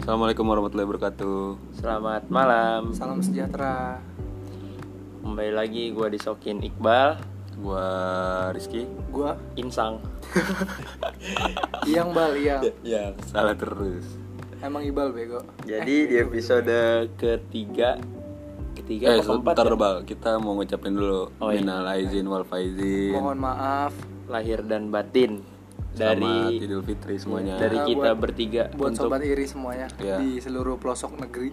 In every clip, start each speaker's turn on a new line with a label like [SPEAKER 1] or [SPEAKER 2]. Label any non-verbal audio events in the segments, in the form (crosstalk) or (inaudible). [SPEAKER 1] Assalamualaikum warahmatullahi wabarakatuh.
[SPEAKER 2] Selamat malam.
[SPEAKER 3] Salam sejahtera.
[SPEAKER 2] Kembali lagi gua disokin Iqbal,
[SPEAKER 1] Gua Rizky.
[SPEAKER 3] Gua
[SPEAKER 2] Insang.
[SPEAKER 3] Iyang Bal Iyang.
[SPEAKER 2] Ya.
[SPEAKER 1] Salah terus.
[SPEAKER 3] Emang Ibal bego.
[SPEAKER 2] Jadi di episode ketiga, ketiga
[SPEAKER 1] eh,
[SPEAKER 2] atau keempat
[SPEAKER 1] sebentar
[SPEAKER 2] ya?
[SPEAKER 1] Bal. Kita mau ngucapin dulu
[SPEAKER 2] Oh, iya.
[SPEAKER 1] minal aizin wal faizin.
[SPEAKER 3] Mohon maaf
[SPEAKER 2] lahir dan batin
[SPEAKER 1] Selamat
[SPEAKER 2] dari Iya,
[SPEAKER 1] Idul Fitri semuanya.
[SPEAKER 2] dari
[SPEAKER 3] Ah,
[SPEAKER 2] kita
[SPEAKER 3] buat-
[SPEAKER 2] bertiga
[SPEAKER 3] buat
[SPEAKER 2] untuk
[SPEAKER 3] sobat iri semuanya
[SPEAKER 1] Iya.
[SPEAKER 3] di seluruh pelosok negeri.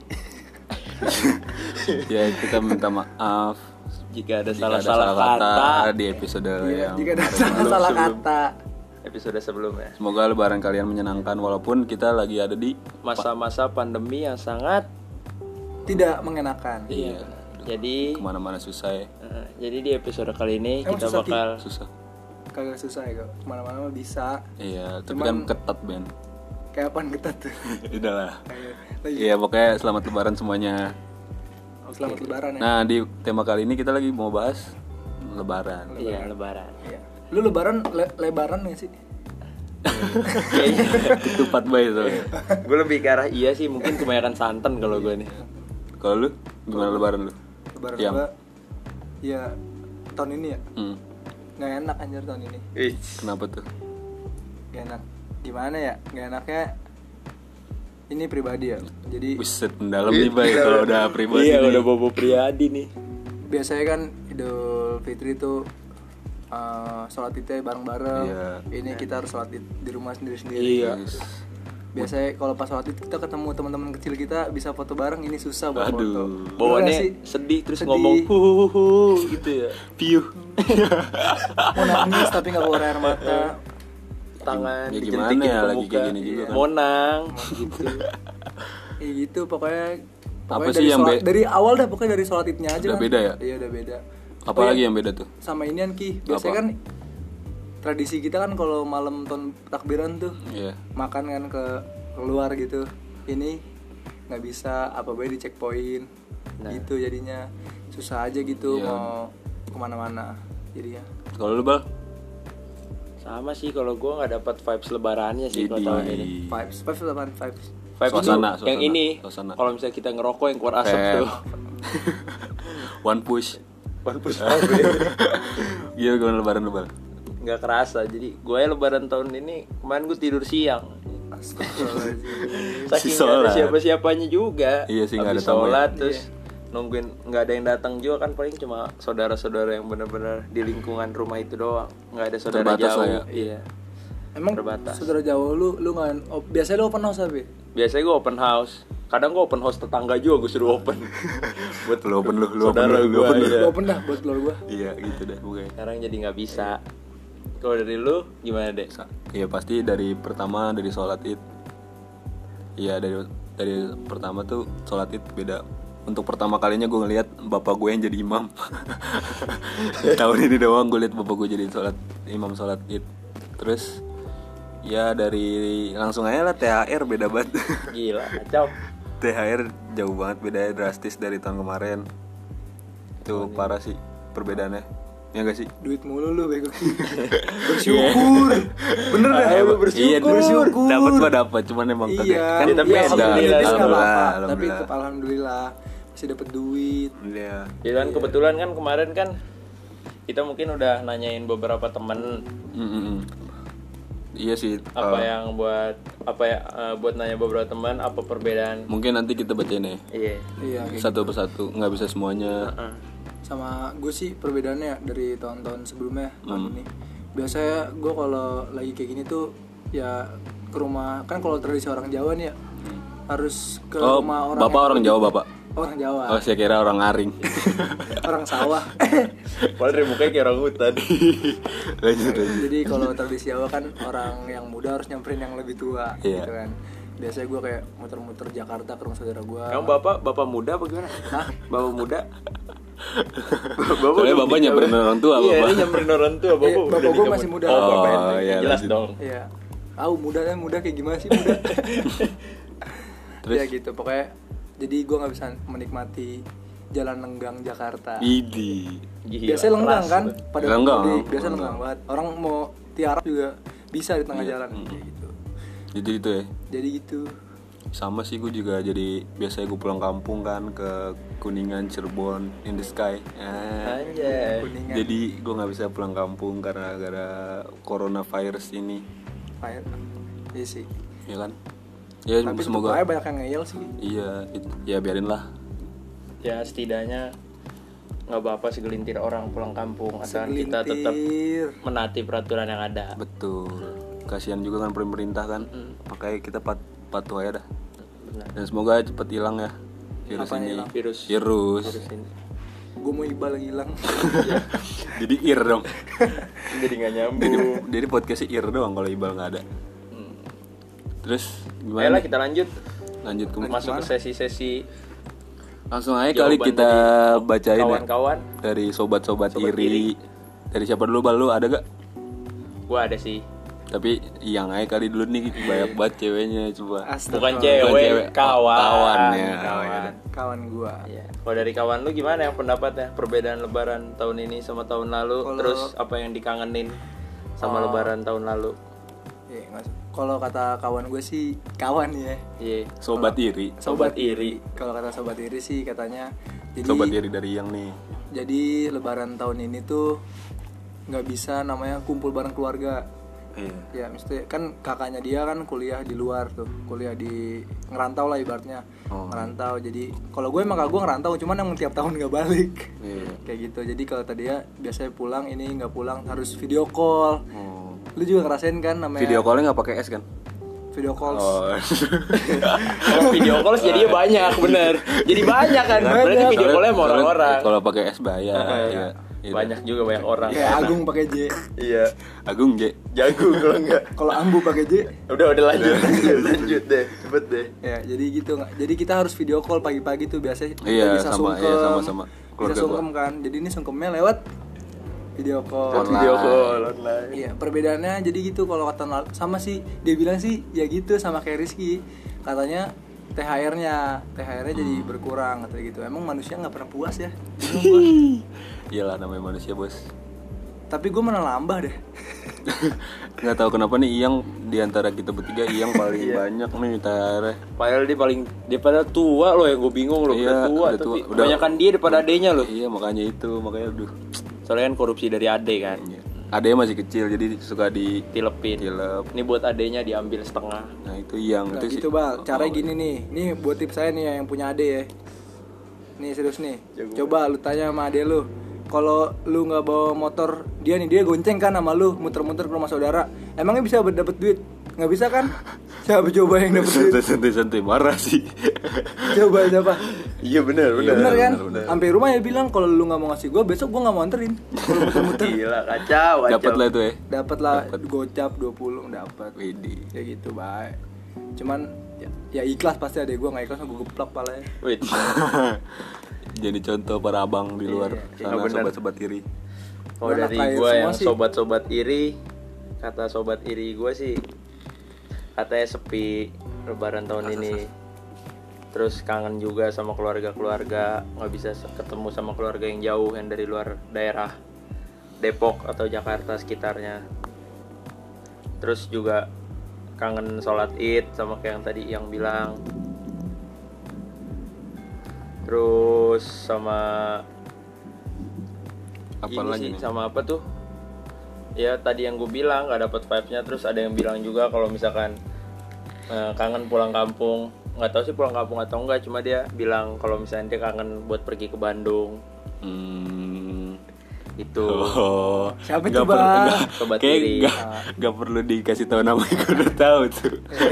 [SPEAKER 1] ya, kita minta maaf
[SPEAKER 2] (laughs) jika ada
[SPEAKER 1] jika
[SPEAKER 2] salah-salah kata,
[SPEAKER 1] di episode
[SPEAKER 3] Iya,
[SPEAKER 1] yang
[SPEAKER 3] Jika ada
[SPEAKER 1] kemarin.
[SPEAKER 3] salah salah
[SPEAKER 2] sebelum-
[SPEAKER 3] kata.
[SPEAKER 2] episode ya. sebelumnya.
[SPEAKER 1] Semoga lebaran kalian menyenangkan walaupun kita lagi ada di
[SPEAKER 2] Masa-masa pandemi yang sangat
[SPEAKER 3] Tidak mengenakan.
[SPEAKER 1] Iya.
[SPEAKER 2] jadi
[SPEAKER 1] kemana-mana susah ya.
[SPEAKER 2] eh, jadi di episode kali ini
[SPEAKER 3] Emang
[SPEAKER 2] kita
[SPEAKER 3] susah, Ki?
[SPEAKER 2] bakal
[SPEAKER 1] Susah.
[SPEAKER 3] Kagak susah ya, kok. Kemana-mana mah bisa.
[SPEAKER 1] Iya, tapi
[SPEAKER 3] Cuman-
[SPEAKER 1] kan ketat
[SPEAKER 2] (laughs)
[SPEAKER 1] Ben.
[SPEAKER 3] Kayak apaan ketat tuh.
[SPEAKER 2] Iya
[SPEAKER 1] Udah lah.
[SPEAKER 3] Kayak- Lagi.
[SPEAKER 1] Iya, pokoknya selamat lebaran semuanya.
[SPEAKER 3] Selamat lebaran ya.
[SPEAKER 1] Nah, di tema kali ini kita lagi mau bahas lebaran.
[SPEAKER 2] iya (laughs) lebaran.
[SPEAKER 3] Iya. Lu lebaran le- lebaran gak sih?
[SPEAKER 1] Ketupat baik
[SPEAKER 2] Iya.
[SPEAKER 1] soalnya.
[SPEAKER 2] gue lebih ke arah iya sih mungkin kebanyakan santan kalau gue nih.
[SPEAKER 1] Kalau lu gimana lebaran lu?
[SPEAKER 3] Lebaran
[SPEAKER 1] Yang.
[SPEAKER 3] gua ya tahun ini ya.
[SPEAKER 1] Hmm.
[SPEAKER 3] Nggak enak anjir tahun ini.
[SPEAKER 1] Kenapa tuh?
[SPEAKER 3] Gak enak. Gimana ya? Gak enaknya ini pribadi ya. Jadi
[SPEAKER 1] Buset mendalam nih baik kalau udah pribadi.
[SPEAKER 2] Iya
[SPEAKER 1] nih.
[SPEAKER 2] udah bobo priadi nih.
[SPEAKER 3] biasanya kan Idul Fitri tuh eh, sholat idnya bareng-bareng.
[SPEAKER 1] Iya.
[SPEAKER 3] Ini kita harus sholat id di rumah sendiri-sendiri.
[SPEAKER 2] Iya.
[SPEAKER 1] Yes.
[SPEAKER 3] Biasanya kalau pas sholat id kita ketemu teman-teman kecil kita bisa foto bareng. Ini susah
[SPEAKER 1] Aduh.
[SPEAKER 3] buat foto. Bener
[SPEAKER 2] Bawaannya
[SPEAKER 3] gak sih?
[SPEAKER 2] sedih terus
[SPEAKER 3] Sedih.
[SPEAKER 2] ngomong huhuhu gitu ya.
[SPEAKER 1] Piuh.
[SPEAKER 3] Mau nangis tapi nggak keluar air mata.
[SPEAKER 2] Tangan
[SPEAKER 1] Ya
[SPEAKER 2] dijentik
[SPEAKER 1] gimana ya,
[SPEAKER 2] ke
[SPEAKER 1] lagi
[SPEAKER 2] muka.
[SPEAKER 1] kayak gini juga
[SPEAKER 2] Iya.
[SPEAKER 1] kan.
[SPEAKER 2] Monang.
[SPEAKER 3] gitu. ya gitu pokoknya.
[SPEAKER 1] Apa
[SPEAKER 3] pokoknya
[SPEAKER 1] sih
[SPEAKER 3] dari
[SPEAKER 1] yang
[SPEAKER 3] sholat-
[SPEAKER 1] be-
[SPEAKER 3] dari awal dah pokoknya dari sholat idnya aja.
[SPEAKER 1] Udah
[SPEAKER 3] kan.
[SPEAKER 1] beda ya?
[SPEAKER 3] Iya udah beda.
[SPEAKER 1] Apalagi yang beda tuh?
[SPEAKER 3] sama inian ki biasanya
[SPEAKER 1] Apa?
[SPEAKER 3] kan tradisi kita kan kalau malam tahun takbiran tuh
[SPEAKER 1] Iya.
[SPEAKER 3] makan kan ke keluar gitu ini nggak bisa apa baik di checkpoint gitu jadinya susah aja gitu
[SPEAKER 1] Iya.
[SPEAKER 3] mau kemana-mana jadinya
[SPEAKER 1] Kalau lu bal?
[SPEAKER 2] Iya Sama sih kalau gue nggak dapat vibes lebarannya sih kalau
[SPEAKER 1] Jadi
[SPEAKER 2] tahun ini.
[SPEAKER 1] Iya.
[SPEAKER 3] vibes vibes apaan? vibes
[SPEAKER 2] Vibes tuh
[SPEAKER 1] Suasana, suasana,
[SPEAKER 2] yang ini.
[SPEAKER 1] suasana.
[SPEAKER 2] Kalau misalnya kita ngerokok yang keluar asap
[SPEAKER 1] Fair.
[SPEAKER 2] tuh.
[SPEAKER 1] (laughs)
[SPEAKER 2] (laughs)
[SPEAKER 1] One push. (laughs)
[SPEAKER 2] One push
[SPEAKER 1] Iya gimana lebaran lu bal?
[SPEAKER 2] Nggak kerasa. Jadi gue lebaran tahun ini kemarin gue tidur siang.
[SPEAKER 3] Astagfirullahaladzim.
[SPEAKER 2] Saking
[SPEAKER 1] Si
[SPEAKER 2] nggak ada
[SPEAKER 1] sholat.
[SPEAKER 2] siapa-siapanya juga.
[SPEAKER 1] Iya sih, nggak
[SPEAKER 2] Habis
[SPEAKER 1] ada tamu ya.
[SPEAKER 2] sholat terus nungguin nggak ada yang datang juga kan paling cuma saudara-saudara yang benar-benar di lingkungan rumah itu doang. Nggak ada saudara
[SPEAKER 1] Terbatas
[SPEAKER 2] jauh.
[SPEAKER 1] lah ya.
[SPEAKER 2] Iya.
[SPEAKER 3] emang
[SPEAKER 2] Terbatas.
[SPEAKER 3] saudara jauh lu lu nggak oh, biasanya lu open house tapi
[SPEAKER 2] Biasanya gue open house. Kadang gue open house tetangga juga gue suruh
[SPEAKER 1] (laughs)
[SPEAKER 2] open.
[SPEAKER 1] Buat lu open lu, lu open
[SPEAKER 2] Saudara
[SPEAKER 1] lu, lu
[SPEAKER 2] gua,
[SPEAKER 1] open lu.
[SPEAKER 2] iya.
[SPEAKER 3] lu open dah buat keluar gua
[SPEAKER 1] Iya gitu deh pokoknya.
[SPEAKER 2] Sekarang jadi nggak bisa. Kalau dari lu gimana deh?
[SPEAKER 1] Sa- Iya pasti dari pertama dari sholat id. Iya dari dari pertama tuh sholat id beda. Untuk pertama kalinya gue ngeliat bapak gue yang jadi imam. Tahun ini doang gue liat bapak gue jadi sholat imam sholat id. Terus ya dari langsung aja lah THR beda banget. (laughs)
[SPEAKER 2] Gila, kacau.
[SPEAKER 1] THR jauh banget bedanya drastis dari tahun kemarin. Tuh parah sih perbedaannya. Ya gak sih?
[SPEAKER 3] duit mulu lu
[SPEAKER 1] (laughs)
[SPEAKER 3] bego bersyukur bener dah
[SPEAKER 1] Ayo,
[SPEAKER 3] bersyukur
[SPEAKER 1] Iya, bersyukur. Dapat mah dapat, cuman emang kagak.
[SPEAKER 3] iya
[SPEAKER 1] Kan
[SPEAKER 2] Ya, tapi
[SPEAKER 3] iya,
[SPEAKER 2] alhamdulillah,
[SPEAKER 3] alhamdulillah,
[SPEAKER 2] alhamdulillah,
[SPEAKER 3] nggak apa-apa. tapi
[SPEAKER 1] alhamdulillah.
[SPEAKER 3] tetap alhamdulillah masih dapat duit
[SPEAKER 1] Iya.
[SPEAKER 2] Ya kan kebetulan kan kemarin kan kita mungkin udah nanyain beberapa temen
[SPEAKER 1] Mm, mm, mm. Iya sih.
[SPEAKER 2] apa
[SPEAKER 1] eh,
[SPEAKER 2] yang buat apa ya eh, buat nanya beberapa teman apa perbedaan
[SPEAKER 1] Mungkin nanti kita bacain ya.
[SPEAKER 2] iya
[SPEAKER 3] iya kayak
[SPEAKER 1] Satu persatu, nggak bisa semuanya.
[SPEAKER 3] gitu. sama gue sih perbedaannya ya dari tahun-tahun sebelumnya
[SPEAKER 1] Hmm.
[SPEAKER 3] tahun ini biasanya gue kalau lagi kayak gini tuh ya ke rumah kan kalau tradisi orang Jawa nih ya harus ke
[SPEAKER 1] Hmm. Oh,
[SPEAKER 3] rumah orang
[SPEAKER 1] bapak orang Jawa bapak.
[SPEAKER 3] orang Jawa
[SPEAKER 1] Oh, saya kira orang
[SPEAKER 3] (laughs)
[SPEAKER 1] aring. (laughs)
[SPEAKER 3] orang sawah
[SPEAKER 2] padahal dari mukanya kayak orang hutan
[SPEAKER 1] Lanjut lanjut.
[SPEAKER 3] Jadi kalau tradisi Jawa kan orang yang muda harus nyamperin yang lebih tua
[SPEAKER 1] Iya.
[SPEAKER 3] gitu kan. Biasanya gue kayak muter-muter Jakarta ke rumah saudara gue.
[SPEAKER 2] kamu bapak bapak muda apa gimana
[SPEAKER 3] Hah?
[SPEAKER 2] bapak muda
[SPEAKER 1] Soalnya bapak nyamperin orang tua
[SPEAKER 2] iya
[SPEAKER 1] bapak.
[SPEAKER 2] dia nyamperin orang tua Iya, bapak
[SPEAKER 3] Eh, bapak
[SPEAKER 2] udah
[SPEAKER 3] gue
[SPEAKER 2] nikah
[SPEAKER 3] masih muda.
[SPEAKER 2] oh, bapak yang
[SPEAKER 1] Oh, iya,
[SPEAKER 2] jelas
[SPEAKER 1] lanjut.
[SPEAKER 2] dong
[SPEAKER 3] Iya. Tahu muda kan muda kayak gimana sih muda?
[SPEAKER 1] Terus?
[SPEAKER 3] ya gitu pokoknya. Jadi gue nggak bisa menikmati jalan lenggang Jakarta.
[SPEAKER 1] Idi.
[SPEAKER 2] Gila,
[SPEAKER 3] Biasanya lenggang
[SPEAKER 2] keras
[SPEAKER 3] kan?
[SPEAKER 2] tuh.
[SPEAKER 3] Pada
[SPEAKER 1] Lenggang,
[SPEAKER 3] mudik, biasa
[SPEAKER 1] lenggang.
[SPEAKER 3] lenggang banget. Orang mau tiarap juga bisa di tengah jalan kayak gitu.
[SPEAKER 1] Jadi itu ya.
[SPEAKER 3] Jadi gitu.
[SPEAKER 1] sama sih gue juga jadi biasanya gue pulang kampung kan ke Kuningan Cirebon in the sky Eh,
[SPEAKER 2] Anjay.
[SPEAKER 3] kuningan
[SPEAKER 1] jadi gue nggak bisa pulang kampung karena gara coronavirus ini
[SPEAKER 3] Fire. Iya sih
[SPEAKER 1] ya kan ya
[SPEAKER 3] tapi semoga
[SPEAKER 1] semoga
[SPEAKER 3] banyak yang ngeyel sih
[SPEAKER 1] iya it- ya biarin lah
[SPEAKER 2] Ya setidaknya nggak apa-apa segelintir orang pulang kampung asal kita tetap
[SPEAKER 3] Segelintir.
[SPEAKER 2] menati peraturan yang ada.
[SPEAKER 1] betul kasihan juga kan pemerintah kan makanya kita pat- patuh aja dah
[SPEAKER 2] Benar.
[SPEAKER 1] dan semoga cepet hilang ya virus
[SPEAKER 3] Apanya
[SPEAKER 1] ini
[SPEAKER 3] hilang?
[SPEAKER 2] Virus.
[SPEAKER 1] virus
[SPEAKER 2] Virus ini.
[SPEAKER 3] gue mau ibal yang hilang
[SPEAKER 1] (laughs) jadi ir dong
[SPEAKER 2] Jadi nggak nyambung.
[SPEAKER 1] jadi podcastnya ir doang kalau ibal nggak ada terus gimana
[SPEAKER 2] Hmm. Ayolah
[SPEAKER 1] nih?
[SPEAKER 2] kita lanjut
[SPEAKER 1] lanjut ke
[SPEAKER 2] masuk ke sesi-sesi
[SPEAKER 1] langsung aja kali
[SPEAKER 2] Jawaban
[SPEAKER 1] kita bacain ya
[SPEAKER 2] kawan-kawan.
[SPEAKER 1] dari sobat-sobat iri. dari siapa dulu bal lu ada gak
[SPEAKER 2] Gua ada sih.
[SPEAKER 1] tapi yang aja kali dulu nih banyak banget ceweknya coba
[SPEAKER 3] Astaga.
[SPEAKER 2] Bukan cewek,
[SPEAKER 1] cewek,
[SPEAKER 2] Eh, kawan.
[SPEAKER 1] kawan, ya.
[SPEAKER 2] Kawan.
[SPEAKER 3] kawan gua
[SPEAKER 2] Iya. Kalau dari kawan lu gimana yang pendapatnya perbedaan Lebaran tahun ini sama tahun lalu?
[SPEAKER 3] Kalau-
[SPEAKER 2] Terus apa yang dikangenin sama Lebaran tahun lalu?
[SPEAKER 3] Iya, nggak usah. kalau kata kawan gue sih kawan ya
[SPEAKER 2] Iya.
[SPEAKER 1] sobat iri
[SPEAKER 2] Sobat iri.
[SPEAKER 3] kalau kata sobat iri sih katanya jadi
[SPEAKER 1] sobat iri dari yang nih
[SPEAKER 3] jadi lebaran tahun ini tuh nggak bisa namanya kumpul bareng keluarga
[SPEAKER 1] iya
[SPEAKER 3] ya mesti kan kakaknya dia kan kuliah di luar tuh kuliah di ngerantau lah ibaratnya
[SPEAKER 1] Oh.
[SPEAKER 3] ngerantau jadi kalau gue emang kagak gue ngerantau cuman emang tiap tahun nggak balik (laughs)
[SPEAKER 1] Iya.
[SPEAKER 3] kayak gitu jadi kalau tadi ya biasanya pulang ini nggak pulang harus video call
[SPEAKER 1] Oh.
[SPEAKER 3] lu juga ngerasain kan namanya
[SPEAKER 1] video callnya nggak pakai es kan
[SPEAKER 3] video calls
[SPEAKER 1] Oh, (laughs)
[SPEAKER 2] Kalau video call (laughs) jadinya banyak bener. Jadi banyak kan. Berarti video callnya mau
[SPEAKER 1] Soalnya
[SPEAKER 2] orang-orang.
[SPEAKER 1] kalau pakai es
[SPEAKER 2] (laughs)
[SPEAKER 1] bayar
[SPEAKER 2] Iya,
[SPEAKER 1] ya. Gitu.
[SPEAKER 2] Banyak juga banyak orang.
[SPEAKER 3] kayak
[SPEAKER 1] iya.
[SPEAKER 3] Agung pakai J
[SPEAKER 2] Iya.
[SPEAKER 1] Agung J
[SPEAKER 2] Jago kalau enggak.
[SPEAKER 3] kalau Ambu pakai J
[SPEAKER 2] Udah udah lanjut. lanjut deh. Cepet deh.
[SPEAKER 3] ya jadi gitu nggak- jadi kita harus video call pagi-pagi tuh biasanya kita
[SPEAKER 1] Iya,
[SPEAKER 3] bisa
[SPEAKER 1] sama- iya,
[SPEAKER 3] sungkem
[SPEAKER 1] sama-sama. Keluarga
[SPEAKER 3] bisa
[SPEAKER 1] gua.
[SPEAKER 3] sungkem kan jadi ini sungkemnya lewat video call
[SPEAKER 1] Online.
[SPEAKER 2] Video call online.
[SPEAKER 3] Iya, perbedaannya jadi gitu kalau kata Nal- sama sih dia bilang sih ya gitu sama kayak Rizky. Katanya THR-nya, THR-nya jadi
[SPEAKER 1] Hmm.
[SPEAKER 3] berkurang katanya gitu. Emang manusia nggak pernah puas ya? Bingung gua.
[SPEAKER 1] Iyalah namanya manusia bos (laughs)
[SPEAKER 3] Tapi gue malah nambah deh.
[SPEAKER 1] nggak tahu kenapa nih Iyang diantara kita bertiga Iyang
[SPEAKER 2] (laughs) Iya.
[SPEAKER 1] paling banyak nih tare
[SPEAKER 2] Padahal dia paling dia pada tua loh yang gue bingung loh
[SPEAKER 1] Iya,
[SPEAKER 2] udah tua
[SPEAKER 1] udah
[SPEAKER 2] tapi
[SPEAKER 1] tua. Udah-
[SPEAKER 2] kebanyakan dia daripada adenya loh.
[SPEAKER 1] iya makanya itu makanya aduh
[SPEAKER 2] Soalnya kan korupsi dari ade kan.
[SPEAKER 1] adanya masih kecil jadi suka di
[SPEAKER 2] Tilepin.
[SPEAKER 1] Tilep.
[SPEAKER 2] Ini buat adenya diambil setengah.
[SPEAKER 1] nah itu Iyang
[SPEAKER 3] Nah,
[SPEAKER 1] itu sih ya.
[SPEAKER 3] gitu,
[SPEAKER 1] (laughs)
[SPEAKER 3] Bal. Caranya gini nih. Nih buat tips saya nih ya, yang punya ade ya. Nih serius nih. Coba lu tanya sama ade lu. Kalau lu nggak bawa motor, dia nih dia gonceng kan sama lu muter-muter ke rumah saudara. Emangnya bisa dapat duit? Nggak bisa
[SPEAKER 1] (laughs)
[SPEAKER 3] kan? Siapa coba yang dapat duit?
[SPEAKER 1] santai santai santai marah sih
[SPEAKER 3] Coba siapa?
[SPEAKER 2] (laughs) Iya bener
[SPEAKER 1] bener.
[SPEAKER 3] bener kan?
[SPEAKER 1] bener, bener.
[SPEAKER 3] Sampai rumah ya bilang kalau lu nggak mau ngasih gue besok gue nggak mau
[SPEAKER 1] (laughs)
[SPEAKER 3] anterin. Kalau muter-muter
[SPEAKER 2] (laughs) Gila kacau. kacau.
[SPEAKER 1] dapat lah itu ya
[SPEAKER 3] dapat lah gocap 20 dapat.
[SPEAKER 1] Widih
[SPEAKER 3] Ya gitu baik. Cuman ya, ya ikhlas pasti ada gue nggak ikhlas gue geplak palanya.
[SPEAKER 2] Wait.
[SPEAKER 1] (laughs) jadi contoh para abang di
[SPEAKER 2] Iya,
[SPEAKER 1] luar sana sobat-sobat iri
[SPEAKER 2] Kalau
[SPEAKER 3] Gua
[SPEAKER 2] dari
[SPEAKER 3] nakain
[SPEAKER 2] gue
[SPEAKER 3] semua
[SPEAKER 2] yang
[SPEAKER 3] sih.
[SPEAKER 2] sobat-sobat iri, kata sobat iri gue sih katanya sepi Lebaran tahun ini. Terus kangen juga sama keluarga-keluarga, nggak bisa se- ketemu sama keluarga yang jauh yang dari luar daerah Depok atau Jakarta sekitarnya. Terus juga kangen sholat id sama kayak yang tadi yang bilang. Terus sama
[SPEAKER 1] apa
[SPEAKER 2] ini
[SPEAKER 1] lagi
[SPEAKER 2] sih
[SPEAKER 1] nih
[SPEAKER 2] sama apa tuh ya tadi yang gue bilang nggak dapat vibe nya terus ada yang bilang juga kalau misalkan eh, kangen pulang kampung nggak tahu sih pulang kampung atau enggak cuma dia bilang kalau misalnya dia kangen buat pergi ke Bandung
[SPEAKER 1] Hmm.
[SPEAKER 2] itu
[SPEAKER 1] Oh,
[SPEAKER 3] Siapa
[SPEAKER 1] nggak
[SPEAKER 3] tuh,
[SPEAKER 1] perlu-
[SPEAKER 3] Bang?
[SPEAKER 1] nggak-
[SPEAKER 2] Sobat
[SPEAKER 1] kayak
[SPEAKER 2] iri.
[SPEAKER 1] nggak- nggak perlu dikasih tahu namanya gue udah tahu tuh.
[SPEAKER 2] Eh,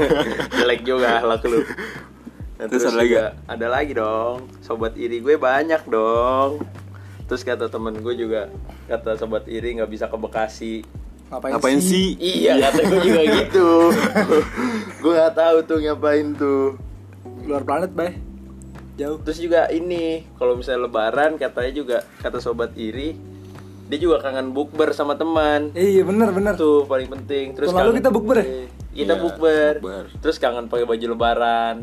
[SPEAKER 2] jelek juga lah lu Nah,
[SPEAKER 1] Terus ada lagi
[SPEAKER 2] juga ada lagi dong sobat iri gue banyak dong terus kata temen gue juga kata sobat iri nggak bisa ke Bekasi
[SPEAKER 3] Ngapain,
[SPEAKER 1] Ngapain sih?
[SPEAKER 2] Iya kata gue
[SPEAKER 1] (laughs)
[SPEAKER 2] juga gitu Gue gak tahu tuh ngapain tuh
[SPEAKER 3] Luar planet bay. Jauh.
[SPEAKER 2] Terus juga ini kalau misalnya lebaran katanya juga Kata sobat iri Dia juga kangen bukber sama teman
[SPEAKER 3] Eh, Iya bener bener.
[SPEAKER 2] Itu paling penting Terus
[SPEAKER 3] Tahun lalu
[SPEAKER 2] kangen- Eh,
[SPEAKER 3] kita bukber ya?
[SPEAKER 2] Kita
[SPEAKER 1] Iya,
[SPEAKER 2] bukber.
[SPEAKER 1] bukber.
[SPEAKER 2] Terus kangen pakai baju lebaran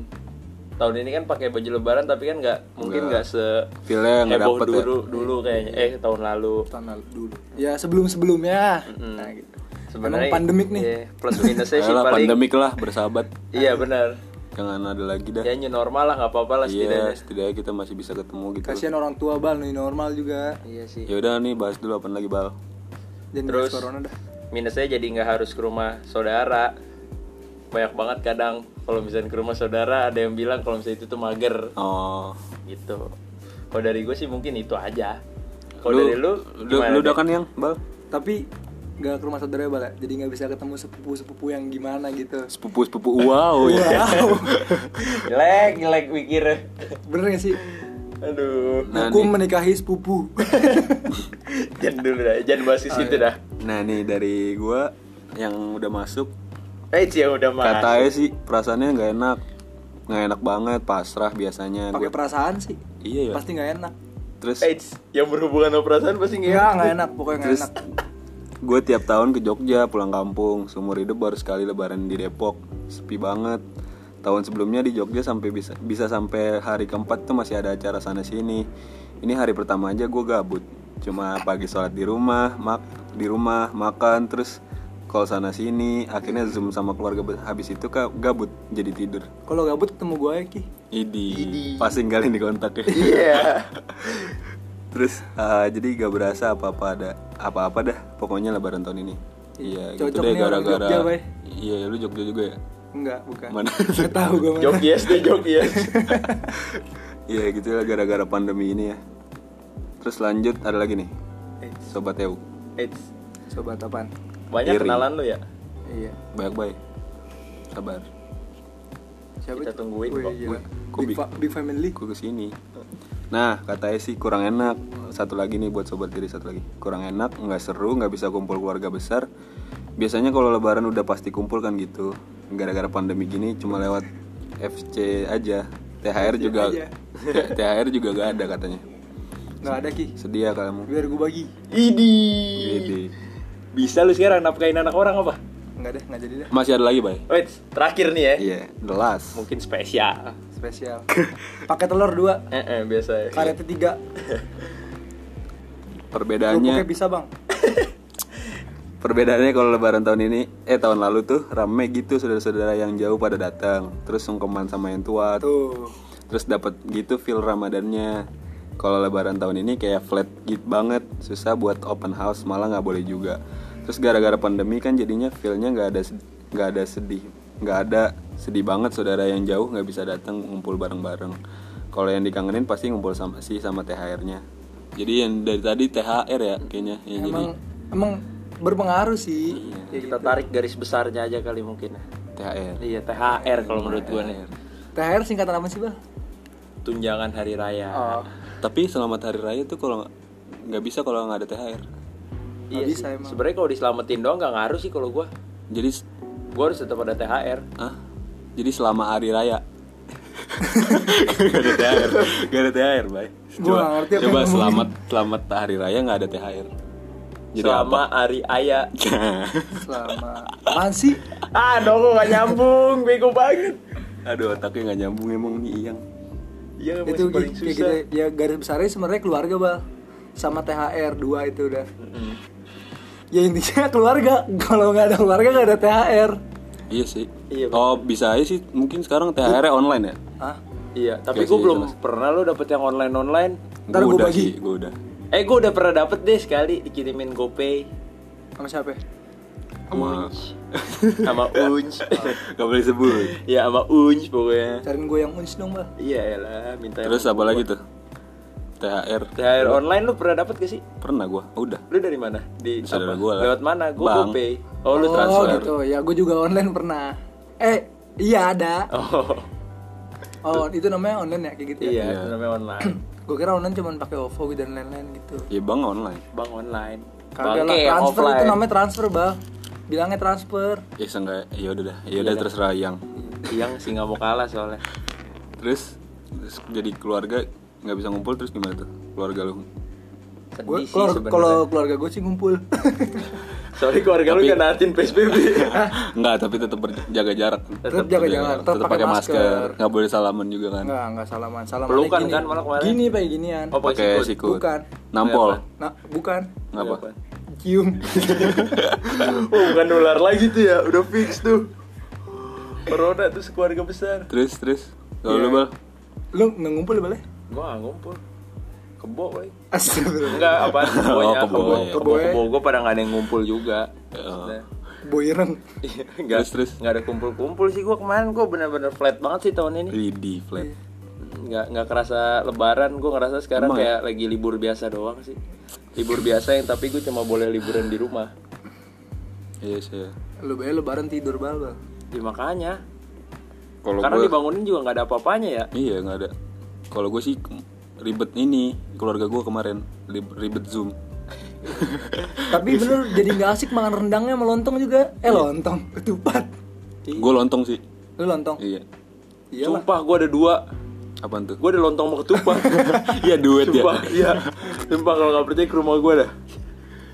[SPEAKER 2] Tahun ini kan pakai baju lebaran tapi kan nggak mungkin nggak se
[SPEAKER 1] Feel-nya nggak
[SPEAKER 2] heboh
[SPEAKER 1] dapet ya.
[SPEAKER 2] dulu dulu kayaknya eh tahun lalu
[SPEAKER 3] Tahun lalu dulu. Ya sebelum sebelumnya.
[SPEAKER 1] Hmm.
[SPEAKER 2] Mm-mm.
[SPEAKER 3] Nah gitu.
[SPEAKER 2] sebenarnya
[SPEAKER 3] Emang pandemik nih.
[SPEAKER 2] iya, plus minusnya sih
[SPEAKER 1] (laughs) Ayolah,
[SPEAKER 2] paling
[SPEAKER 1] pandemik lah bersahabat.
[SPEAKER 2] Iya benar.
[SPEAKER 1] jangan ada lagi dah
[SPEAKER 2] ya new normal lah nggak apa-apa lah
[SPEAKER 1] iya
[SPEAKER 2] setidaknya
[SPEAKER 1] setidaknya kita masih bisa ketemu gitu
[SPEAKER 3] kasihan orang tua bal nih normal juga
[SPEAKER 2] iya sih
[SPEAKER 1] ya udah nih bahas dulu apa lagi bal
[SPEAKER 3] dan
[SPEAKER 2] Terus?
[SPEAKER 3] virus corona dah
[SPEAKER 2] minusnya jadi nggak harus ke rumah saudara banyak banget kadang kalau misalnya ke rumah saudara ada yang bilang kalau misalnya itu tuh mager
[SPEAKER 1] oh
[SPEAKER 2] gitu kalau dari gue sih mungkin itu aja kalau
[SPEAKER 1] lu
[SPEAKER 2] dari lu
[SPEAKER 1] lu,
[SPEAKER 2] gimana
[SPEAKER 1] lu
[SPEAKER 2] deh?
[SPEAKER 1] udah kan yang bal
[SPEAKER 3] tapi nggak ke rumah saudara bal ya jadi nggak bisa ketemu sepupu sepupu yang gimana gitu
[SPEAKER 1] sepupu sepupu
[SPEAKER 2] (laughs)
[SPEAKER 1] wow
[SPEAKER 2] Iya.
[SPEAKER 1] ya
[SPEAKER 2] (laughs) jelek jelek pikirnya
[SPEAKER 3] bener gak sih
[SPEAKER 2] aduh
[SPEAKER 1] Nah,
[SPEAKER 3] aku
[SPEAKER 1] nih.
[SPEAKER 3] menikahi sepupu
[SPEAKER 2] jangan dulu dah jangan bahas ke situ dah
[SPEAKER 1] nah nih dari gua yang udah masuk
[SPEAKER 2] eh cia udah mah
[SPEAKER 1] katanya sih perasaannya nggak enak nggak enak banget pasrah biasanya
[SPEAKER 3] pakai
[SPEAKER 1] gua.
[SPEAKER 3] perasaan sih
[SPEAKER 1] iya ya
[SPEAKER 3] pasti nggak enak
[SPEAKER 1] terus
[SPEAKER 2] eh Ci, yang berhubungan sama perasaan pasti nggak
[SPEAKER 3] Iya nggak enak pokoknya nggak
[SPEAKER 1] Terus
[SPEAKER 3] enak
[SPEAKER 1] gue tiap tahun ke Jogja pulang kampung, seumur hidup baru sekali lebaran di Depok, sepi banget. Tahun sebelumnya di Jogja sampai bisa bisa sampai hari keempat tuh masih ada acara sana sini. Ini hari pertama aja gue gabut, cuma pagi sholat di rumah, mak di rumah makan terus call sana sini. Akhirnya zoom sama keluarga be- habis itu ka- gabut jadi tidur.
[SPEAKER 3] kalau gabut ketemu gue ya ki
[SPEAKER 1] Idi, pasti ninggalin di kontak ya.
[SPEAKER 2] iya
[SPEAKER 1] (laughs) Terus eh, jadi gak berasa apa-apa ada apa-apa dah pokoknya lebaran tahun ini. Iya gitu
[SPEAKER 3] Cocok
[SPEAKER 1] deh
[SPEAKER 3] nih orang
[SPEAKER 1] gara-gara
[SPEAKER 3] Jogja, Bay.
[SPEAKER 1] Iya lu Jogja juga ya?
[SPEAKER 3] enggak bukan
[SPEAKER 1] Mana? ya?
[SPEAKER 3] nggak tahu gue mana
[SPEAKER 2] jogjes deh jogjes
[SPEAKER 1] (laughs) Iya gitu lah gara-gara pandemi ini ya Terus lanjut ada lagi nih
[SPEAKER 2] Eh,
[SPEAKER 1] Sobat EU
[SPEAKER 2] eh,
[SPEAKER 3] sobat apaan
[SPEAKER 2] banyak
[SPEAKER 1] Iri.
[SPEAKER 2] kenalan lu ya
[SPEAKER 3] iya
[SPEAKER 1] Banyak baik Sabar
[SPEAKER 3] siapa
[SPEAKER 2] Kita
[SPEAKER 3] itu?
[SPEAKER 2] tungguin
[SPEAKER 3] Ya, Wih,
[SPEAKER 2] kok.
[SPEAKER 3] gila.
[SPEAKER 1] Kok
[SPEAKER 3] big,
[SPEAKER 1] big?
[SPEAKER 3] fa- big family
[SPEAKER 1] Gue kesini Nah katanya sih kurang enak Satu lagi nih buat sobat diri satu lagi Kurang enak, nggak seru, nggak bisa kumpul keluarga besar Biasanya kalau lebaran udah pasti kumpul kan gitu Gara-gara pandemi gini cuma lewat FC aja THR juga (laughs)
[SPEAKER 3] aja.
[SPEAKER 1] THR juga gak ada katanya
[SPEAKER 3] nggak ada ki
[SPEAKER 1] Sedih ya kamu
[SPEAKER 3] biar gue bagi
[SPEAKER 2] Idi.
[SPEAKER 3] Iya.
[SPEAKER 1] Gitu.
[SPEAKER 2] Bisa lu sekarang nafkain anak orang apa?
[SPEAKER 3] nggak deh nggak jadi deh
[SPEAKER 1] Masih ada lagi bay?
[SPEAKER 2] Wait, terakhir nih ya.
[SPEAKER 1] Iya, the last.
[SPEAKER 2] Mungkin spesial.
[SPEAKER 3] spesial (laughs) pakai telur dua
[SPEAKER 2] Eh, eh biasa ya.
[SPEAKER 3] karetnya tiga kerupuknya
[SPEAKER 1] Perbedaannya
[SPEAKER 3] bisa bang
[SPEAKER 1] perbedaannya kalau lebaran tahun ini eh tahun lalu tuh rame gitu saudara-saudara yang jauh pada datang, terus sungkeman sama yang tua,
[SPEAKER 3] tuh
[SPEAKER 1] terus dapat gitu feel Ramadannya. Kalau lebaran tahun ini kayak flat gitu banget, susah buat open house malah nggak boleh juga. Terus gara-gara pandemi kan jadinya feelnya nggak ada sed- nggak ada sedih, nggak ada sedih banget saudara yang jauh nggak bisa datang ngumpul bareng-bareng. Kalau yang dikangenin pasti ngumpul sama sih sama THR-nya. Jadi yang dari tadi THR ya kayaknya yang jadi
[SPEAKER 3] emang emang berpengaruh sih
[SPEAKER 1] Iya.
[SPEAKER 2] Ya, kita tarik garis besarnya aja kali mungkin.
[SPEAKER 1] THR.
[SPEAKER 2] Iya, THR kalau menurut gua nih.
[SPEAKER 3] THR singkatan apa sih bang
[SPEAKER 2] Tunjangan hari raya.
[SPEAKER 3] oh
[SPEAKER 1] Tapi selamat hari raya tuh kalau nggak- nggak bisa kalau nggak ada THR.
[SPEAKER 2] iya
[SPEAKER 3] nggak bisa
[SPEAKER 2] sih.
[SPEAKER 3] emang.
[SPEAKER 2] Sebenarnya kalau diselamatin doang nggak ngaruh sih kalau gua.
[SPEAKER 1] Jadi s-
[SPEAKER 2] Gua harus tetap ada THR.
[SPEAKER 1] ah, jadi selama hari raya gak ada THR, gak ada THR, bay.
[SPEAKER 3] Gua
[SPEAKER 1] Coba,
[SPEAKER 3] nggak ngerti apa
[SPEAKER 1] coba
[SPEAKER 3] yang ngomongin.
[SPEAKER 1] selamat selamat hari raya nggak ada THR. Jadi apa?
[SPEAKER 2] Selama hari ayah.
[SPEAKER 1] Nah,
[SPEAKER 3] selama apaan sih
[SPEAKER 2] ah, dong gua nggak nyambung, bego banget.
[SPEAKER 1] (laughs) Aduh, otaknya nggak nyambung emang nih Iyang.
[SPEAKER 2] Iya, emang
[SPEAKER 3] itu
[SPEAKER 2] sih paling
[SPEAKER 3] kayak
[SPEAKER 2] susah.
[SPEAKER 3] gitu ya garis besarnya sebenarnya keluarga bal sama THR dua itu udah
[SPEAKER 2] Mm-mm.
[SPEAKER 3] ya intinya keluarga (laughs) kalau nggak ada keluarga nggak ada THR
[SPEAKER 1] Iya sih.
[SPEAKER 2] Iya,
[SPEAKER 1] oh, bisa aja sih. Mungkin sekarang THR -nya online ya?
[SPEAKER 3] ah
[SPEAKER 2] Iya, tapi
[SPEAKER 1] Iya
[SPEAKER 2] gua
[SPEAKER 1] sih,
[SPEAKER 2] belum
[SPEAKER 1] jelas.
[SPEAKER 2] pernah lo dapet yang online-online.
[SPEAKER 3] Ntar
[SPEAKER 1] Gua
[SPEAKER 3] gua
[SPEAKER 1] udah
[SPEAKER 3] bagi.
[SPEAKER 1] sih, gua udah.
[SPEAKER 2] Eh, gua udah pernah dapet deh sekali dikirimin GoPay.
[SPEAKER 3] sama siapa ya?
[SPEAKER 1] Sama- (laughs)
[SPEAKER 2] sama unj
[SPEAKER 1] Gak boleh sebut.
[SPEAKER 2] ya sama unj pokoknya
[SPEAKER 3] cariin gue yang uns dong bal
[SPEAKER 2] iya lah minta
[SPEAKER 1] Terus apa lagi tuh? THR.
[SPEAKER 2] THR online lu pernah dapat gak sih
[SPEAKER 1] Pernah gua, udah.
[SPEAKER 2] lu dari mana di
[SPEAKER 1] Di saudara
[SPEAKER 2] apa?
[SPEAKER 1] gua lah.
[SPEAKER 2] lewat mana gua
[SPEAKER 1] Bank.
[SPEAKER 2] GoPay oh lu transfer
[SPEAKER 3] gitu ya gue juga online pernah eh iya ada
[SPEAKER 2] (laughs) oh
[SPEAKER 3] oh itu namanya online ya kayak gitu ya
[SPEAKER 2] iya itu namanya online
[SPEAKER 3] gue kira online cuma pakai OVO gitu dan lain-lain gitu
[SPEAKER 1] Ya bang online.
[SPEAKER 2] bank online
[SPEAKER 3] kagak lah
[SPEAKER 2] Bangke,
[SPEAKER 3] transfer itu
[SPEAKER 2] offline.
[SPEAKER 3] namanya transfer bal bilangnya transfer
[SPEAKER 1] Ya seenggak, ya udah dah, ya
[SPEAKER 3] Iya
[SPEAKER 1] udah terserah yang.
[SPEAKER 2] yang sih nggak mau kalah soalnya
[SPEAKER 1] Terus, terus jadi keluarga nggak bisa ngumpul terus gimana tuh keluarga lu?
[SPEAKER 2] sedih
[SPEAKER 3] gue
[SPEAKER 2] sih
[SPEAKER 3] kalau kalau
[SPEAKER 2] sebenarnya
[SPEAKER 3] keluarga gue sih
[SPEAKER 2] (laughs)
[SPEAKER 3] ngumpul
[SPEAKER 2] soalnya keluarga lu kan natin
[SPEAKER 1] (laughs)
[SPEAKER 2] PSBB
[SPEAKER 1] Nggak, tapi tetap jaga jarak.
[SPEAKER 3] tetap jaga
[SPEAKER 1] Jaga
[SPEAKER 3] jarak
[SPEAKER 1] jarak,
[SPEAKER 3] tetap pakai masker
[SPEAKER 1] nggak boleh salaman juga kan?
[SPEAKER 3] Enggak, enggak salaman. Salaman
[SPEAKER 2] Pelukan
[SPEAKER 3] gini.
[SPEAKER 2] kan malah kemarin?
[SPEAKER 3] Gini pakai
[SPEAKER 2] Oh,
[SPEAKER 3] ginian.
[SPEAKER 2] Iya, pakai
[SPEAKER 1] Pakai
[SPEAKER 2] sikut.
[SPEAKER 1] sikut.
[SPEAKER 3] Bukan.
[SPEAKER 1] Nampol.
[SPEAKER 3] Nah, bukan.
[SPEAKER 2] Iya, (laughs)
[SPEAKER 1] Ngapa?
[SPEAKER 3] Cium. (laughs)
[SPEAKER 2] oh bukan nular lagi tuh ya udah fix tuh Corona tuh sekeluarga besar.
[SPEAKER 1] Terus terus. Kalau lu
[SPEAKER 3] Iya.
[SPEAKER 1] bal.
[SPEAKER 3] Lu nggak ngumpul ya? boleh?
[SPEAKER 2] Gua gak ngumpul. Kebo kali.
[SPEAKER 3] Astagfirullah.
[SPEAKER 2] Enggak apa
[SPEAKER 1] (laughs) Oh,
[SPEAKER 2] kebonya, kebo,
[SPEAKER 1] kebo,
[SPEAKER 2] kebo,
[SPEAKER 1] iya.
[SPEAKER 2] kebo,
[SPEAKER 3] Kebo.
[SPEAKER 2] gua pada gak ada yang ngumpul juga.
[SPEAKER 1] Oh.
[SPEAKER 2] Nah,
[SPEAKER 3] Boireng.
[SPEAKER 2] iya, nggak-
[SPEAKER 1] Terus, terus.
[SPEAKER 2] nggak ada kumpul-kumpul sih gua kemarin gua bener-bener flat banget sih tahun ini.
[SPEAKER 1] Lidi flat.
[SPEAKER 3] Iya.
[SPEAKER 2] nggak nggak kerasa lebaran gue ngerasa sekarang
[SPEAKER 1] ya?
[SPEAKER 2] kayak lagi libur biasa doang sih libur biasa yang tapi gue cuma boleh liburan di rumah
[SPEAKER 1] Iya sih.
[SPEAKER 3] Lu bayar lebaran tidur bal bal.
[SPEAKER 2] ya, makanya
[SPEAKER 1] Kalau
[SPEAKER 2] karena
[SPEAKER 1] gua
[SPEAKER 2] dibangunin juga nggak ada apa-apanya ya
[SPEAKER 1] iya nggak ada. Kalau gue sih ribet ini keluarga gue kemarin Rib- ribet zoom.
[SPEAKER 3] Tapi bener jadi nggak asik makan rendangnya sama lontong juga. Eh lontong, ketupat. Iya.
[SPEAKER 1] gue lontong sih.
[SPEAKER 3] Lu lontong.
[SPEAKER 1] Iya.
[SPEAKER 2] sumpah gue ada dua
[SPEAKER 1] Apaan tuh?
[SPEAKER 2] gue ada lontong sama
[SPEAKER 1] (laughs)
[SPEAKER 2] ketupat
[SPEAKER 1] Iya duet ya.
[SPEAKER 2] sumpah iya sumpah kalau nggak percaya ke rumah gue dah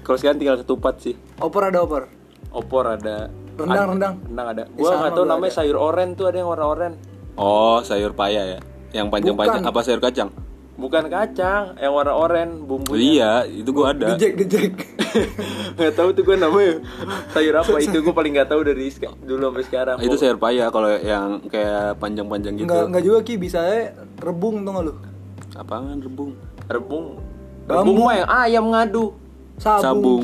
[SPEAKER 2] kalau sekarang tinggal ketupat sih
[SPEAKER 3] Opor ada opor.
[SPEAKER 2] opor ada
[SPEAKER 3] Rendang rendang.
[SPEAKER 2] rendang ada
[SPEAKER 1] Eh,
[SPEAKER 2] gue nggak tahu namanya sayur oren tuh ada yang warna oren
[SPEAKER 1] Oh sayur paya ya. Yang panjang-panjang apa sayur kacang?
[SPEAKER 2] bukan kacang yang warna oren bumbunya
[SPEAKER 1] Iya itu gue ada.
[SPEAKER 3] Dejek dejek.
[SPEAKER 2] (laughs) nggak tahu tuh gue namanya sayur
[SPEAKER 1] (laughs)
[SPEAKER 2] apa itu gue paling nggak tahu dari seka- dulu sampai sekarang
[SPEAKER 1] Itu sayur paya kalau yang kayak panjang-panjang gitu.
[SPEAKER 3] Nggak nggak juga ki bisa aja rebung tuh nggak lu?
[SPEAKER 1] Apaan rebung?
[SPEAKER 2] rebung rebung mah yang ayam ngadu
[SPEAKER 3] Sabung.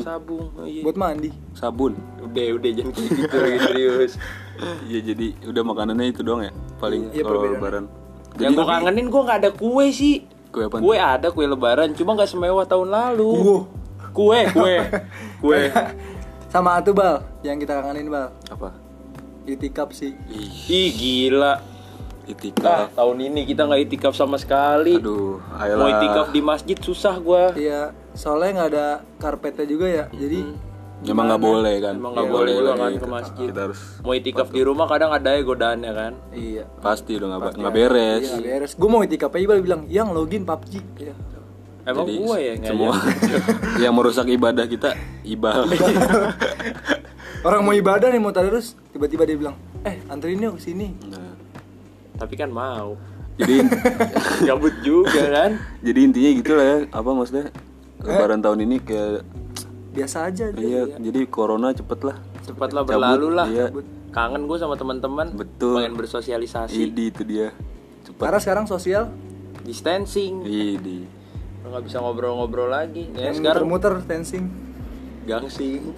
[SPEAKER 1] Sabung,
[SPEAKER 2] sabung oh, iya.
[SPEAKER 3] Buat mandi. (laughs)
[SPEAKER 1] sabun.
[SPEAKER 2] udah udah jangan kayak gitu
[SPEAKER 1] (laughs)
[SPEAKER 2] lagi serius
[SPEAKER 1] Iya jadi udah makanannya itu doang ya paling
[SPEAKER 3] Iya,
[SPEAKER 1] kalau lebaran.
[SPEAKER 3] perbedaannya.
[SPEAKER 2] yang gue kangenin gue nggak ada kue sih
[SPEAKER 1] Kue apa?
[SPEAKER 2] kue ada kue lebaran cuma nggak semewah tahun lalu
[SPEAKER 3] Wow.
[SPEAKER 2] kue
[SPEAKER 1] (laughs)
[SPEAKER 2] kue kue
[SPEAKER 3] Sama atu bal yang kita kangenin bal.
[SPEAKER 1] Apa?
[SPEAKER 3] Itikaf sih.
[SPEAKER 1] Ih,
[SPEAKER 2] ih gila Nah,
[SPEAKER 1] itikaf.
[SPEAKER 2] tahun ini kita nggak itikaf sama sekali
[SPEAKER 1] Aduh,
[SPEAKER 2] mau
[SPEAKER 1] ayolah.
[SPEAKER 2] itikaf di masjid susah gue
[SPEAKER 3] Iya, soalnya nggak ada karpetnya juga ya. Jadi
[SPEAKER 1] Emang nggak boleh kan?
[SPEAKER 2] Emang nggak boleh juga kan ke masjid.
[SPEAKER 1] Kita harus
[SPEAKER 2] mau itikaf di rumah kadang ada ya godaannya kan
[SPEAKER 3] iya.
[SPEAKER 1] pasti udah nggak nggak
[SPEAKER 2] ya.
[SPEAKER 1] beres.
[SPEAKER 3] Iya, beres. Gue mau itikaf aja Bal bilang, "Yang login PUBG." Iya.
[SPEAKER 2] emang gue ya nggak
[SPEAKER 1] Semua (laughs) yang merusak ibadah kita
[SPEAKER 2] (laughs)
[SPEAKER 1] ibadah.
[SPEAKER 3] Orang mau ibadah nih mau tadarus, tiba-tiba dia bilang, "Eh, anterin yuk ke sini."
[SPEAKER 1] Nah, (laughs)
[SPEAKER 2] tapi kan mau
[SPEAKER 1] jadi
[SPEAKER 2] gabut juga kan
[SPEAKER 1] jadi intinya gitu lah ya. Apa maksudnya? Lebaran tahun ini kayak
[SPEAKER 3] Biasa aja dia.
[SPEAKER 1] iya, Eh? jadi corona cepet lah.
[SPEAKER 2] cepatlah
[SPEAKER 1] Cabut,
[SPEAKER 2] berlalu lah
[SPEAKER 1] iya.
[SPEAKER 2] kangen gue sama teman-teman
[SPEAKER 1] Betul. Iya,
[SPEAKER 2] pengen bersosialisasi
[SPEAKER 1] Idi itu dia. Cepat.
[SPEAKER 3] Karena sekarang sosial
[SPEAKER 1] Iya.
[SPEAKER 2] distancing
[SPEAKER 1] Idi.
[SPEAKER 2] Lo nggak bisa ngobrol-ngobrol lagi ya
[SPEAKER 3] yang
[SPEAKER 2] sekarang
[SPEAKER 3] muter-muter tensing.
[SPEAKER 2] gangsing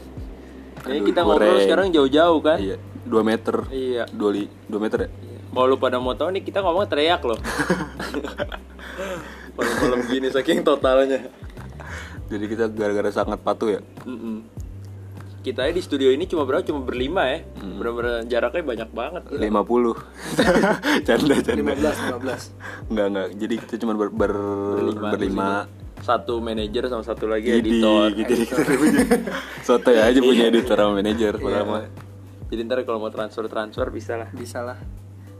[SPEAKER 2] ini
[SPEAKER 1] Aduh,
[SPEAKER 2] kita ngobrol
[SPEAKER 1] goreng.
[SPEAKER 2] sekarang jauh-jauh kan
[SPEAKER 1] Iya, 2 meter.
[SPEAKER 2] Iya.
[SPEAKER 1] 2 li, 2 meter ya?
[SPEAKER 2] mau lu pada mau tahu nih kita ngomong teriak
[SPEAKER 1] (laughs)
[SPEAKER 2] loh malam-malam gini saking totalnya
[SPEAKER 1] Jadi kita gara-gara sangat patuh ya.
[SPEAKER 2] Mm-mm. kita aja di studio ini cuma berapa cuma berlima ya bener-bener jaraknya banyak banget
[SPEAKER 1] Eh, Iya. (laughs) 50. canda canda.
[SPEAKER 3] 15, 15.
[SPEAKER 1] Enggak enggak. Jadi kita cuma ber, ber berlima.
[SPEAKER 2] satu manajer sama satu lagi
[SPEAKER 1] Jadi
[SPEAKER 2] editor Eh,
[SPEAKER 1] gitu (laughs) Soto ya aja punya editor sama manajer padahal mah.
[SPEAKER 2] jadi ntar kalau mau transfer transfer bisa lah
[SPEAKER 3] Bisa lah.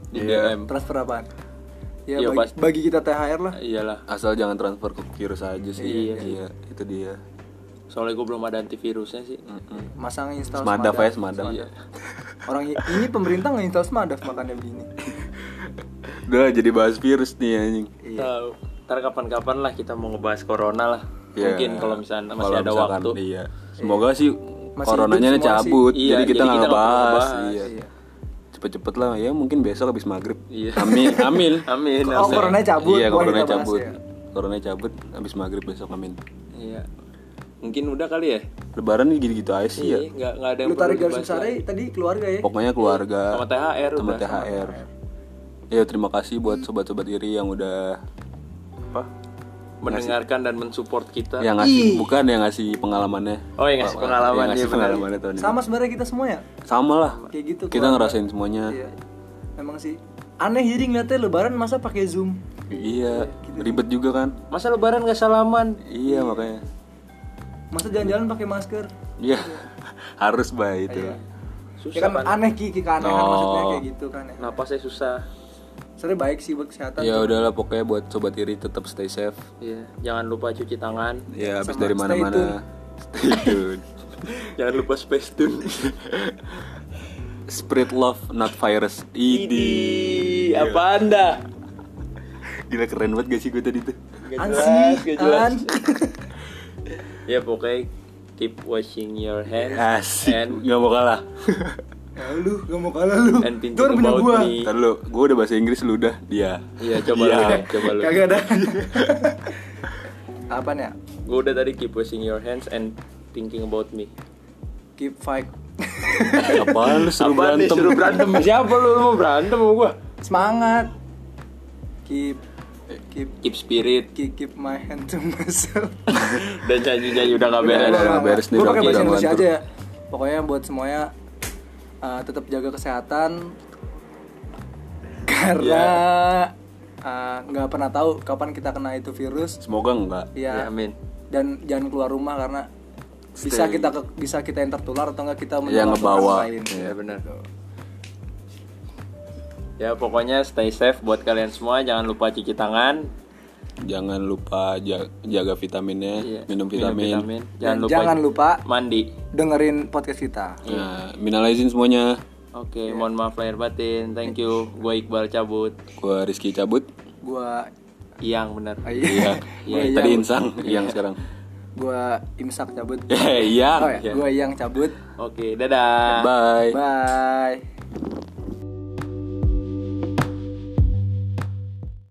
[SPEAKER 2] di
[SPEAKER 1] Iya.
[SPEAKER 2] DM
[SPEAKER 3] Transfer apaan? Ya,
[SPEAKER 2] Iya,
[SPEAKER 3] bagi,
[SPEAKER 2] pasti.
[SPEAKER 3] bagi kita THR lah.
[SPEAKER 2] iyalah
[SPEAKER 1] Asal jangan transfer ke virus aja sih. Iya, itu dia.
[SPEAKER 2] soalnya gue belum ada antivirusnya sih
[SPEAKER 1] Mm.
[SPEAKER 2] Iya.
[SPEAKER 3] Masang install
[SPEAKER 1] Semadaf
[SPEAKER 3] Smadaf.
[SPEAKER 1] aja semadaf.
[SPEAKER 3] Orang i- ini pemerintah nggak install Smadaf makanya begini.
[SPEAKER 1] Udah jadi bahas virus nih anjing.
[SPEAKER 3] Iya.
[SPEAKER 2] tahu ntar kapan-kapan lah kita mau ngebahas corona lah
[SPEAKER 1] Ya,
[SPEAKER 2] mungkin kalau misalnya masih
[SPEAKER 1] kalau
[SPEAKER 2] ada
[SPEAKER 1] misalkan,
[SPEAKER 2] waktu
[SPEAKER 1] Iya. Semoga sih
[SPEAKER 3] Masih
[SPEAKER 1] coronanya
[SPEAKER 3] hidup semua
[SPEAKER 1] cabut.
[SPEAKER 2] sih.
[SPEAKER 1] jadi
[SPEAKER 2] Iya,
[SPEAKER 1] kita
[SPEAKER 2] jadi
[SPEAKER 1] nggak
[SPEAKER 2] kita nggak perlu
[SPEAKER 1] bahas.
[SPEAKER 2] ngebahas.
[SPEAKER 1] Iya. Cepet-cepet lah ya mungkin besok habis maghrib.
[SPEAKER 2] Iya.
[SPEAKER 1] Amin. Amin.
[SPEAKER 2] (laughs) amin
[SPEAKER 3] Oh,
[SPEAKER 2] amin.
[SPEAKER 3] coronanya cabut.
[SPEAKER 1] Iya,
[SPEAKER 3] boleh
[SPEAKER 1] coronanya
[SPEAKER 3] kita bahas
[SPEAKER 1] cabut.
[SPEAKER 3] ya.
[SPEAKER 1] Coronanya cabut habis maghrib besok amin.
[SPEAKER 2] iya mungkin udah kali ya
[SPEAKER 1] Lebaran ini gitu-gitu aja sih ya.
[SPEAKER 2] Iya, nggak nggak ada yang
[SPEAKER 3] Lu tarik
[SPEAKER 2] perlu
[SPEAKER 3] garis
[SPEAKER 2] dibahas
[SPEAKER 3] besarnya
[SPEAKER 2] lagi.
[SPEAKER 3] tadi keluarga ya.
[SPEAKER 1] Pokoknya keluarga
[SPEAKER 2] Iya. sama THR
[SPEAKER 1] sama
[SPEAKER 2] udah Hmm.
[SPEAKER 1] THR. Ya terima kasih buat sobat-sobat iri yang udah apa?
[SPEAKER 2] mendengarkan dan mensupport kita
[SPEAKER 1] Yang ngasih bukan yang ngasih pengalamannya.
[SPEAKER 2] oh yang ngasih pengalaman
[SPEAKER 1] yang
[SPEAKER 2] dia
[SPEAKER 1] ngasih pengalamannya tahun ini.
[SPEAKER 3] Sama sebenarnya kita semua ya.
[SPEAKER 1] Sama lah.
[SPEAKER 3] Kayak gitu,
[SPEAKER 1] Kita
[SPEAKER 3] keluarga.
[SPEAKER 1] ngerasain semuanya.
[SPEAKER 3] Iya. Emang sih aneh jadi ngeliatnya lebaran masa pakai Zoom.
[SPEAKER 1] Iya, ribet juga kan?
[SPEAKER 2] masa lebaran nggak salaman
[SPEAKER 1] Iya, makanya.
[SPEAKER 3] Masa jalan-jalan pakai masker.
[SPEAKER 1] Iya. Harus baik itu.
[SPEAKER 3] ya kan aneh ki ki keanehan
[SPEAKER 1] Oh.
[SPEAKER 3] maksudnya kayak gitu kan ya.
[SPEAKER 2] napasnya susah
[SPEAKER 3] Sebenarnya baik sih buat kesehatan.
[SPEAKER 1] Ya udahlah pokoknya buat sobat iri tetap stay safe.
[SPEAKER 2] Iya, jangan lupa cuci tangan.
[SPEAKER 1] Ya habis
[SPEAKER 3] Sama
[SPEAKER 1] dari
[SPEAKER 3] stay
[SPEAKER 1] mana-mana. Stay tune.
[SPEAKER 2] (laughs) jangan lupa space tune.
[SPEAKER 1] Spread love not virus. Idi.
[SPEAKER 2] (laughs) Idi, apa Anda?
[SPEAKER 1] Gila keren banget gak sih gue tadi tuh?
[SPEAKER 2] Gak
[SPEAKER 3] Ansi,
[SPEAKER 2] jelas, gak jelas. (laughs)
[SPEAKER 3] an.
[SPEAKER 2] Ya pokoknya keep washing your hands
[SPEAKER 1] Asik,
[SPEAKER 2] and
[SPEAKER 1] nggak mau kalah.
[SPEAKER 3] Ya, lu gak mau kalah lu
[SPEAKER 2] And pintu
[SPEAKER 3] itu orang punya
[SPEAKER 2] kebaut
[SPEAKER 3] gua
[SPEAKER 2] nih.
[SPEAKER 1] Ntar lu, gue udah bahasa Inggris lu udah dia.
[SPEAKER 2] Iya, coba lu deh, coba lu.
[SPEAKER 3] kagak ada (laughs) apa nih ya?
[SPEAKER 2] Gue udah tadi keep washing your hands and thinking about me.
[SPEAKER 3] keep fight (laughs)
[SPEAKER 1] Apaan lu seru
[SPEAKER 2] Apaan nih,
[SPEAKER 1] berantem?
[SPEAKER 2] suruh berantem. (laughs) Siapa lu, lu mau berantem sama gua?
[SPEAKER 3] semangat keep
[SPEAKER 2] Eh.
[SPEAKER 3] keep
[SPEAKER 2] Keep spirit
[SPEAKER 3] keep, keep my hand to myself
[SPEAKER 2] (laughs) dan janji-janji udah (laughs) gak beres.
[SPEAKER 1] Udah, udah. beres nih,
[SPEAKER 3] gue pakai
[SPEAKER 1] Rocky,
[SPEAKER 3] bahasa
[SPEAKER 1] udah
[SPEAKER 3] Indonesia
[SPEAKER 1] ngelantur.
[SPEAKER 3] aja ya pokoknya buat semuanya eh, tetap jaga kesehatan
[SPEAKER 2] Iya.
[SPEAKER 3] karena eh, nggak pernah tahu kapan kita kena itu virus
[SPEAKER 1] Semoga enggak.
[SPEAKER 2] Ya,
[SPEAKER 3] ya
[SPEAKER 2] amin.
[SPEAKER 3] dan jangan keluar rumah karena bisa
[SPEAKER 1] Stay.
[SPEAKER 3] kita ke- bisa kita yang tertular atau enggak kita
[SPEAKER 1] Yang
[SPEAKER 3] menular ke
[SPEAKER 1] ngebawa. Iya,
[SPEAKER 3] orang lain Gitu.
[SPEAKER 2] Ya benar. Ya pokoknya stay safe buat kalian semua. Jangan lupa cuci tangan.
[SPEAKER 1] Jangan lupa ja- jaga vitaminnya,
[SPEAKER 2] Iya,
[SPEAKER 1] Eh, minum vitamin.
[SPEAKER 3] dan
[SPEAKER 2] Jangan lupa,
[SPEAKER 3] jangan lupa
[SPEAKER 2] mandi.
[SPEAKER 3] dengerin podcast kita
[SPEAKER 1] Nah, minal aizin semuanya.
[SPEAKER 2] Oke, Iya, mohon maaf lahir batin. Thank you.
[SPEAKER 3] Eh.
[SPEAKER 2] Gue Iqbal cabut.
[SPEAKER 1] Gua Rizky cabut.
[SPEAKER 3] gua
[SPEAKER 2] Yang bener.
[SPEAKER 1] Iya.
[SPEAKER 3] Gua
[SPEAKER 1] Tadi
[SPEAKER 3] Iyang.
[SPEAKER 1] insang, yang sekarang. (laughs)
[SPEAKER 3] gua imsak cabut
[SPEAKER 1] Eh, iya.
[SPEAKER 3] oh ya gua yang cabut
[SPEAKER 2] Oke, dadah.
[SPEAKER 1] Bye.
[SPEAKER 3] bye